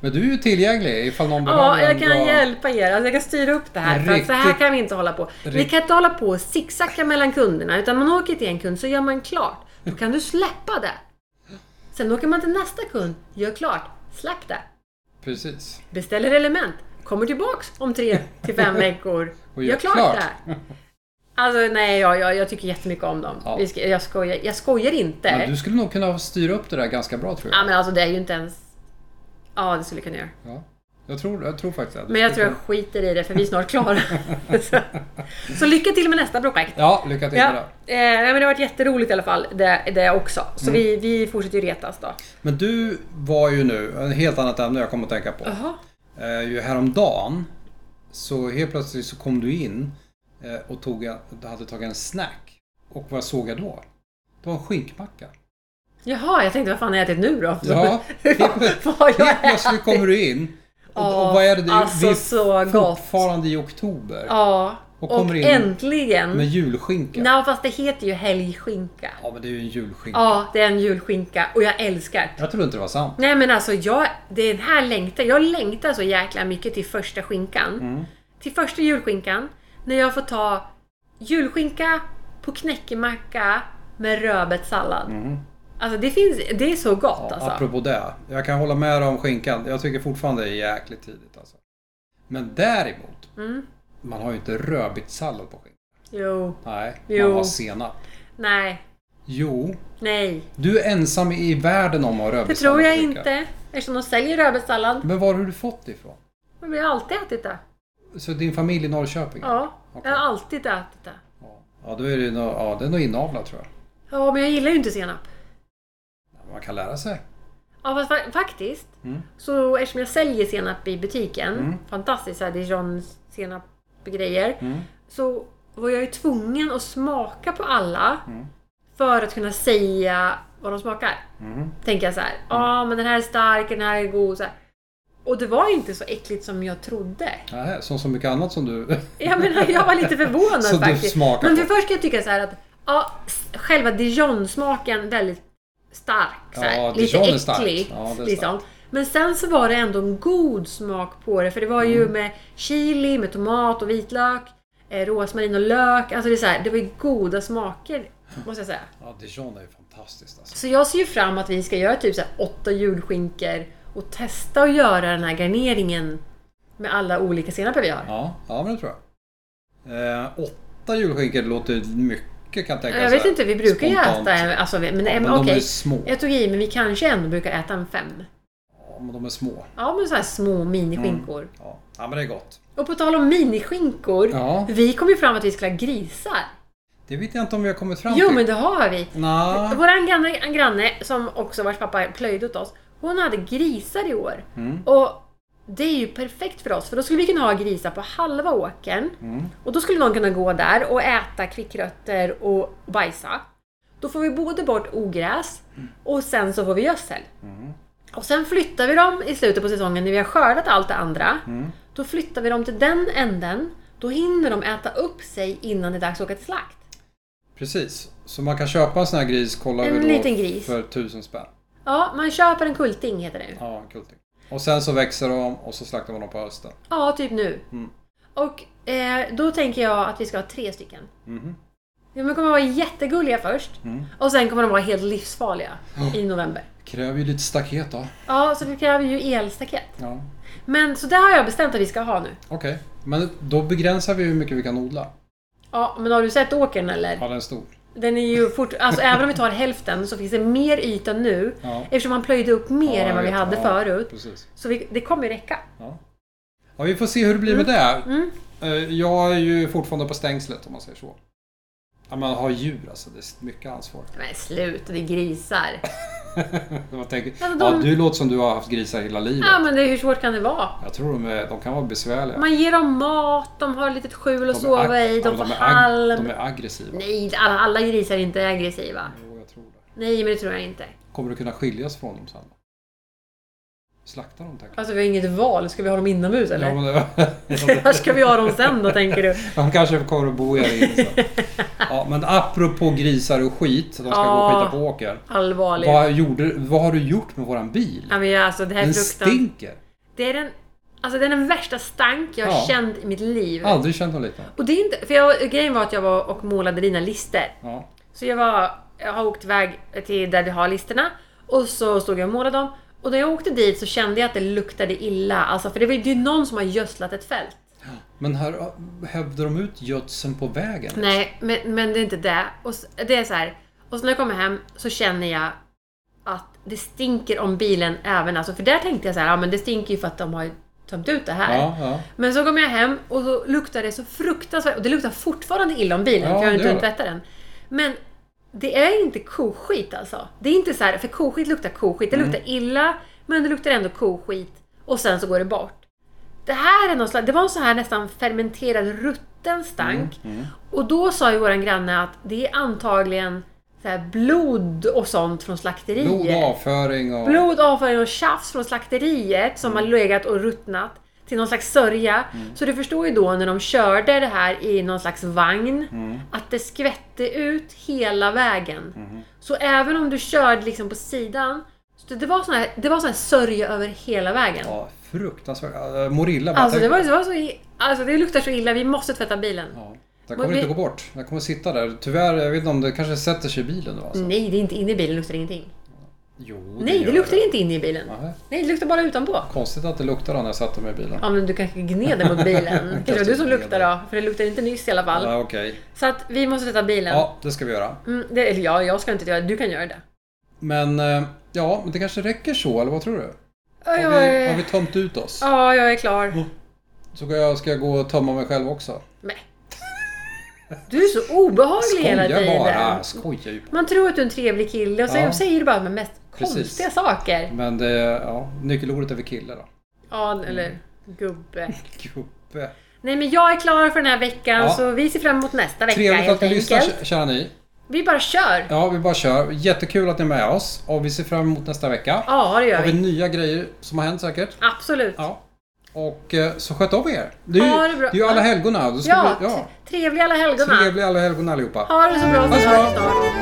Speaker 1: Men du är ju tillgänglig ifall någon
Speaker 2: ja,
Speaker 1: behöver en
Speaker 2: jag kan
Speaker 1: bra-
Speaker 2: hjälpa er. Alltså, jag kan styra upp det här. För att så här
Speaker 1: Riktigt-
Speaker 2: kan vi inte hålla på. Ni kan inte hålla på och zigzacka mellan kunderna. Utan man åker till en kund så gör man klart. Då kan du släppa det. Sen åker man till nästa kund. Gör klart. Släpp det.
Speaker 1: Precis.
Speaker 2: Beställer element. Kommer tillbaks om tre till fem veckor.
Speaker 1: Och
Speaker 2: Och
Speaker 1: gör
Speaker 2: gör, klart,
Speaker 1: klart.
Speaker 2: det här. Alltså nej, jag, jag, jag tycker jättemycket om dem.
Speaker 1: Ja.
Speaker 2: Vi ska, jag, skojar, jag skojar inte.
Speaker 1: Men du skulle nog kunna styra upp det där ganska bra tror
Speaker 2: Ja
Speaker 1: jag.
Speaker 2: men alltså det är ju inte ens... Ja det skulle jag kunna göra.
Speaker 1: Ja. Jag, tror, jag tror faktiskt det. Du
Speaker 2: Men jag tror
Speaker 1: skulle
Speaker 2: jag skiter i det för vi är snart klara. så, så lycka till med nästa projekt.
Speaker 1: kunna- Ja, lycka till
Speaker 2: Ja,
Speaker 1: med det.
Speaker 2: eh, nej, men det har varit jätteroligt i alla fall det, det också. Så
Speaker 1: Mm.
Speaker 2: vi, vi fortsätter ju retas då.
Speaker 1: Men du var ju nu, en helt annat ämne jag kom att tänka på.
Speaker 2: Jaha.
Speaker 1: Eh, ju häromdagen så helt plötsligt så kom du in eh, och tog, en- hade tagit en snack. Och vad såg jag då? Det var en skinkmacka.
Speaker 2: Jaha, jag tänkte vad fan har jag ätit nu då?
Speaker 1: Ja,
Speaker 2: vad har jag
Speaker 1: Helt plötsligt
Speaker 2: ätit?
Speaker 1: kommer du in. Och,
Speaker 2: Ja,
Speaker 1: och vad är det? Det är-
Speaker 2: alltså,
Speaker 1: det är
Speaker 2: så gott.
Speaker 1: fortfarande i oktober.
Speaker 2: Ja,
Speaker 1: Och
Speaker 2: och,
Speaker 1: kommer in
Speaker 2: äntligen.
Speaker 1: Med julskinka.
Speaker 2: Nej, fast det heter ju helgskinka.
Speaker 1: Ja, men det är ju en julskinka.
Speaker 2: Ja, det är en julskinka och jag älskar det.
Speaker 1: Jag tror inte det var sant.
Speaker 2: Nej men alltså, jag, det är den här längtan. Jag längtar så jäkla mycket till första skinkan.
Speaker 1: Mm.
Speaker 2: Till första julskinkan. När jag får ta julskinka på knäckemacka med rödbetssallad. Alltså det finns, det är så gott
Speaker 1: Mm. Ja,
Speaker 2: alltså.
Speaker 1: Apropå det. Jag kan hålla med dig om skinkan. Jag tycker fortfarande det är jäkligt tidigt. Alltså. Men däremot.
Speaker 2: Mm.
Speaker 1: Man har ju inte rödbetssallad på skinkan.
Speaker 2: Jo,
Speaker 1: Nej,
Speaker 2: Jo.
Speaker 1: man har senap.
Speaker 2: nej.
Speaker 1: Jo,
Speaker 2: Nej,
Speaker 1: du är ensam i världen om att ha
Speaker 2: det
Speaker 1: rödbetssallad
Speaker 2: tror jag
Speaker 1: på bricka.
Speaker 2: inte. Eftersom de säljer rödbetssallad.
Speaker 1: Men var har du fått det ifrån?
Speaker 2: Men vi har alltid ätit det.
Speaker 1: Så din familj i Norrköping?
Speaker 2: Ja,
Speaker 1: Okej.
Speaker 2: jag har alltid ätit det.
Speaker 1: Ja, då är det, nog- ja, det är nog inavlat tror jag.
Speaker 2: Ja, men jag gillar ju inte senap.
Speaker 1: Man kan lära sig.
Speaker 2: Ja, fast fa- faktiskt.
Speaker 1: Mm.
Speaker 2: Så eftersom jag säljer senap i butiken,
Speaker 1: Mm.
Speaker 2: fantastiskt så här dijon senap grejer.
Speaker 1: Mm.
Speaker 2: Så var jag ju tvungen att smaka på alla
Speaker 1: Mm.
Speaker 2: för att kunna säga vad de smakar.
Speaker 1: Mm.
Speaker 2: Tänker jag så här, ja men den här är stark, den här är god. Så här. Och det var inte så äckligt som jag trodde.
Speaker 1: Nähä, som så mycket annat som du...
Speaker 2: Jag, menar, jag var lite förvånad
Speaker 1: Så du
Speaker 2: faktiskt.
Speaker 1: smakar
Speaker 2: Men
Speaker 1: på.
Speaker 2: för först kan jag tycka så här att ja, s- själva Dijon-smaken väldigt stark. Så här,
Speaker 1: Ja,
Speaker 2: lite
Speaker 1: Dijon är
Speaker 2: äcklig.
Speaker 1: starkt. Ja, det är
Speaker 2: liksom. Men sen så var det ändå en god smak på det. För det var ju
Speaker 1: Mm.
Speaker 2: med chili, med tomat och vitlök, eh, rosmarin och lök. Alltså det, är så här, det var ju goda smaker, måste jag säga.
Speaker 1: Ja, Dijon är ju fantastiskt alltså.
Speaker 2: Så jag ser ju fram att vi ska göra typ så här åtta julskinkor och testa att göra den här garneringen med alla olika senaper vi har.
Speaker 1: Ja, ja men det tror jag. Eh, åtta julskinkor låter mycket kan jag tänka
Speaker 2: Jag
Speaker 1: så
Speaker 2: vet
Speaker 1: här,
Speaker 2: inte, vi brukar ju
Speaker 1: Alltså, spontant.
Speaker 2: äta en, alltså, vi- men,
Speaker 1: Ja,
Speaker 2: ja,
Speaker 1: men
Speaker 2: men
Speaker 1: de är
Speaker 2: okej.
Speaker 1: små.
Speaker 2: Jag tog i, men vi kanske ändå brukar äta en fem.
Speaker 1: Ja, men de är små.
Speaker 2: Ja, men så här små miniskinkor.
Speaker 1: Ja. ja, men det är gott.
Speaker 2: Och på tal om miniskinkor.
Speaker 1: Mm. Ja.
Speaker 2: Vi kom ju fram att vi skulle ha grisar.
Speaker 1: Det vet jag inte om vi har kommit fram
Speaker 2: Jo,
Speaker 1: till.
Speaker 2: men det har vi.
Speaker 1: Nja,
Speaker 2: Vår granne, en granne, som också vars pappa plöjde åt oss, hon hade grisar i år.
Speaker 1: Mm.
Speaker 2: Och det är ju perfekt för oss, för då skulle vi kunna ha grisar på halva åkern. Och då skulle någon kunna gå där och äta kvickrötter och bajsa. Då får vi både bort ogräs och sen så får vi gödsel. Och sen flyttar vi dem i slutet på säsongen när vi har skördat allt det andra. Då flyttar vi dem till den änden. Då hinner de äta upp sig innan det är dags att åka till slakt.
Speaker 1: precis. Så man kan köpa en sån här gris, kollar
Speaker 2: En
Speaker 1: vi då,
Speaker 2: liten gris.
Speaker 1: för tusen spänn.
Speaker 2: Ja, man köper en kulting heter det.
Speaker 1: Ja, en kulting. Och sen så växer de och så slaktar man dem på hösten.
Speaker 2: Ja, typ nu.
Speaker 1: Mm.
Speaker 2: Och eh, då tänker jag att vi ska ha tre stycken.
Speaker 1: Mhm.
Speaker 2: De kommer vara jättegulliga först
Speaker 1: Mm.
Speaker 2: och sen kommer de vara helt livsfarliga i november.
Speaker 1: Kräver ju lite staket då.
Speaker 2: Ja, så det kräver ju elstaket.
Speaker 1: Ja.
Speaker 2: Men så det har jag bestämt att vi ska ha nu.
Speaker 1: Okej, men då begränsar vi hur mycket vi kan odla.
Speaker 2: Ja, men har du sett åkern eller?
Speaker 1: Ja, den är stor.
Speaker 2: Den är ju fort... Alltså även om vi tar hälften så finns det mer yta nu
Speaker 1: Ja.
Speaker 2: eftersom man plöjde upp
Speaker 1: Ja,
Speaker 2: mer
Speaker 1: jag
Speaker 2: än vad vi
Speaker 1: vet.
Speaker 2: hade
Speaker 1: Ja,
Speaker 2: förut.
Speaker 1: Precis.
Speaker 2: Så vi, det kommer ju räcka.
Speaker 1: Ja. ja, vi får se hur det blir med
Speaker 2: Mm.
Speaker 1: det. Eh, Jag är ju fortfarande på stängslet om man säger så. Ja, man har djur alltså, det är mycket ansvar.
Speaker 2: Men sluta, det är grisar.
Speaker 1: Man tänker,
Speaker 2: Alltså,
Speaker 1: ja,
Speaker 2: de-
Speaker 1: du låter som du har haft grisar hela livet.
Speaker 2: Ja, men det, hur svårt kan det vara?
Speaker 1: Jag tror de, är, de kan vara besvärliga.
Speaker 2: Man ger dem mat, de har ett litet skjul att
Speaker 1: De är
Speaker 2: sova
Speaker 1: ag-
Speaker 2: i,
Speaker 1: ja,
Speaker 2: de får
Speaker 1: är ag-
Speaker 2: halm.
Speaker 1: De är aggressiva.
Speaker 2: Nej, alla, alla grisar är inte aggressiva.
Speaker 1: Jo, jag tror det.
Speaker 2: Nej, men det tror jag inte.
Speaker 1: Kommer du kunna skiljas från dem sen? Slakta dem tänker
Speaker 2: Alltså vi har inget val. Ska vi ha dem inomhus
Speaker 1: jag. Ja,
Speaker 2: eller?
Speaker 1: men det-
Speaker 2: Var ska vi ha dem sen då, tänker du?
Speaker 1: De kanske kommer att bo här inne sen. Ja, men apropå grisar och skit, de ska gå och
Speaker 2: Ja.
Speaker 1: skita på åker.
Speaker 2: Allvarligt.
Speaker 1: Vad, gjorde, vad har du gjort med våran bil?
Speaker 2: Ja, men jag- alltså det här är
Speaker 1: Den
Speaker 2: fruktansvärt.
Speaker 1: stinker!
Speaker 2: Det är den, alltså, det är den värsta stank jag har
Speaker 1: Ja.
Speaker 2: känt i mitt liv.
Speaker 1: Aldrig känt något liknande.
Speaker 2: Och det är inte, för jag, grejen var att jag var och målade dina lister.
Speaker 1: Ja.
Speaker 2: Så jag, var, jag har åkt iväg till där vi har listorna och så stod jag och målade dem. Och när jag åkte dit så kände jag att det luktade illa. Alltså, för det var ju det är ju någon som har gödslat ett fält.
Speaker 1: Men här hävde de ut gödseln på vägen.
Speaker 2: Nej, men, men det är inte det. Och s- det är så här. Och så när jag kommer hem så känner jag att det stinker om bilen även. Alltså, för där tänkte jag så här, ja men det stinker ju för att de har ju tömt ut det här.
Speaker 1: Ja, ja.
Speaker 2: Men så kom jag hem och så luktar det så fruktansvärt. Och det luktar fortfarande illa om bilen
Speaker 1: Ja,
Speaker 2: för jag har
Speaker 1: det
Speaker 2: inte
Speaker 1: gör
Speaker 2: hunnit tvätta den. Men det är inte koskit alltså. Det är inte så här, för koskit luktar koskit. Det
Speaker 1: Mm.
Speaker 2: luktar illa, men det luktar ändå koskit. Och sen så går det bort. Det här är någon slags, det var en sån här nästan fermenterad rutten stank.
Speaker 1: Mm,
Speaker 2: Och då sa ju våran granne att det är antagligen så här blod och sånt från slakterier.
Speaker 1: Blod och avföring och...
Speaker 2: Blod, avföring och tjafs från slakteriet som
Speaker 1: Mm.
Speaker 2: har legat och ruttnat till någon slags sörja. Så du förstår ju då när de körde det här i någon slags vagn
Speaker 1: Mm.
Speaker 2: att det skvätte ut hela vägen.
Speaker 1: Mm.
Speaker 2: Så även om du körde liksom på sidan, så det var sån här, det var sån här sörja över hela vägen.
Speaker 1: Ja, fruktansvärt. Äh, Morilla bara
Speaker 2: Alltså det,
Speaker 1: tänk-
Speaker 2: var, det, var så, i- alltså det luktar så illa, vi måste tvätta bilen.
Speaker 1: Ja. Den kommer
Speaker 2: Men vi-
Speaker 1: inte gå bort. Den kommer sitta där. Tyvärr, jag vet inte om det kanske sätter sig i bilen då alltså.
Speaker 2: Nej, det är inte inne i bilen, det luktar ingenting.
Speaker 1: Jo,
Speaker 2: Mm. Nej, det
Speaker 1: gör
Speaker 2: luktar inte inne i bilen.
Speaker 1: Nej.
Speaker 2: Nej, det luktar bara utanpå.
Speaker 1: Konstigt att det luktar när jag satte mig i bilen.
Speaker 2: Ja, men du kanske gneder mot bilen. Kanske det var du som luktar då, för det luktar inte nyss i alla fall.
Speaker 1: Ja, Okej.
Speaker 2: Så att vi måste tvätta bilen.
Speaker 1: Ja, det ska vi göra.
Speaker 2: Mm, det, eller ja, jag ska inte göra det. Du kan göra det.
Speaker 1: Men eh, ja, men det kanske räcker så, eller vad tror du?
Speaker 2: Oj,
Speaker 1: Har vi, har vi Oh.
Speaker 2: oj.
Speaker 1: tömt ut oss?
Speaker 2: Ja, jag är klar.
Speaker 1: Så ska jag, ska jag gå och tömma mig själv också?
Speaker 2: Nej. Du är så obehaglig hela
Speaker 1: Skojar
Speaker 2: tiden.
Speaker 1: bara! Skojar ju bara.
Speaker 2: Man tror att du är en trevlig kille och så
Speaker 1: Ja.
Speaker 2: säger du bara de mest
Speaker 1: Precis.
Speaker 2: konstiga saker.
Speaker 1: Men det, ja, nyckelordet är väl kille då.
Speaker 2: Ja, eller
Speaker 1: Mm.
Speaker 2: gubbe.
Speaker 1: Gubbe.
Speaker 2: Nej, men jag är klar för den här veckan
Speaker 1: Ja.
Speaker 2: så vi ser fram emot nästa vecka
Speaker 1: Trevligt att
Speaker 2: helt
Speaker 1: ni lyssnar
Speaker 2: enkelt.
Speaker 1: kä- kära ni.
Speaker 2: Vi bara kör.
Speaker 1: Ja, vi bara kör. Jättekul att ni är med oss och vi ser fram emot nästa vecka.
Speaker 2: Ja, det gör
Speaker 1: Har vi
Speaker 2: vi.
Speaker 1: nya grejer som har hänt säkert?
Speaker 2: Absolut.
Speaker 1: Ja. Och eh, så sköt om er. Det är ju,
Speaker 2: Ja, det är bra.
Speaker 1: är ju alla helgona. Då ska
Speaker 2: Ja,
Speaker 1: vi, ja.
Speaker 2: trevliga alla helgona.
Speaker 1: Trevliga alla helgona allihopa.
Speaker 2: Ha det så bra så
Speaker 1: Ha det så bra.
Speaker 2: hörs snart.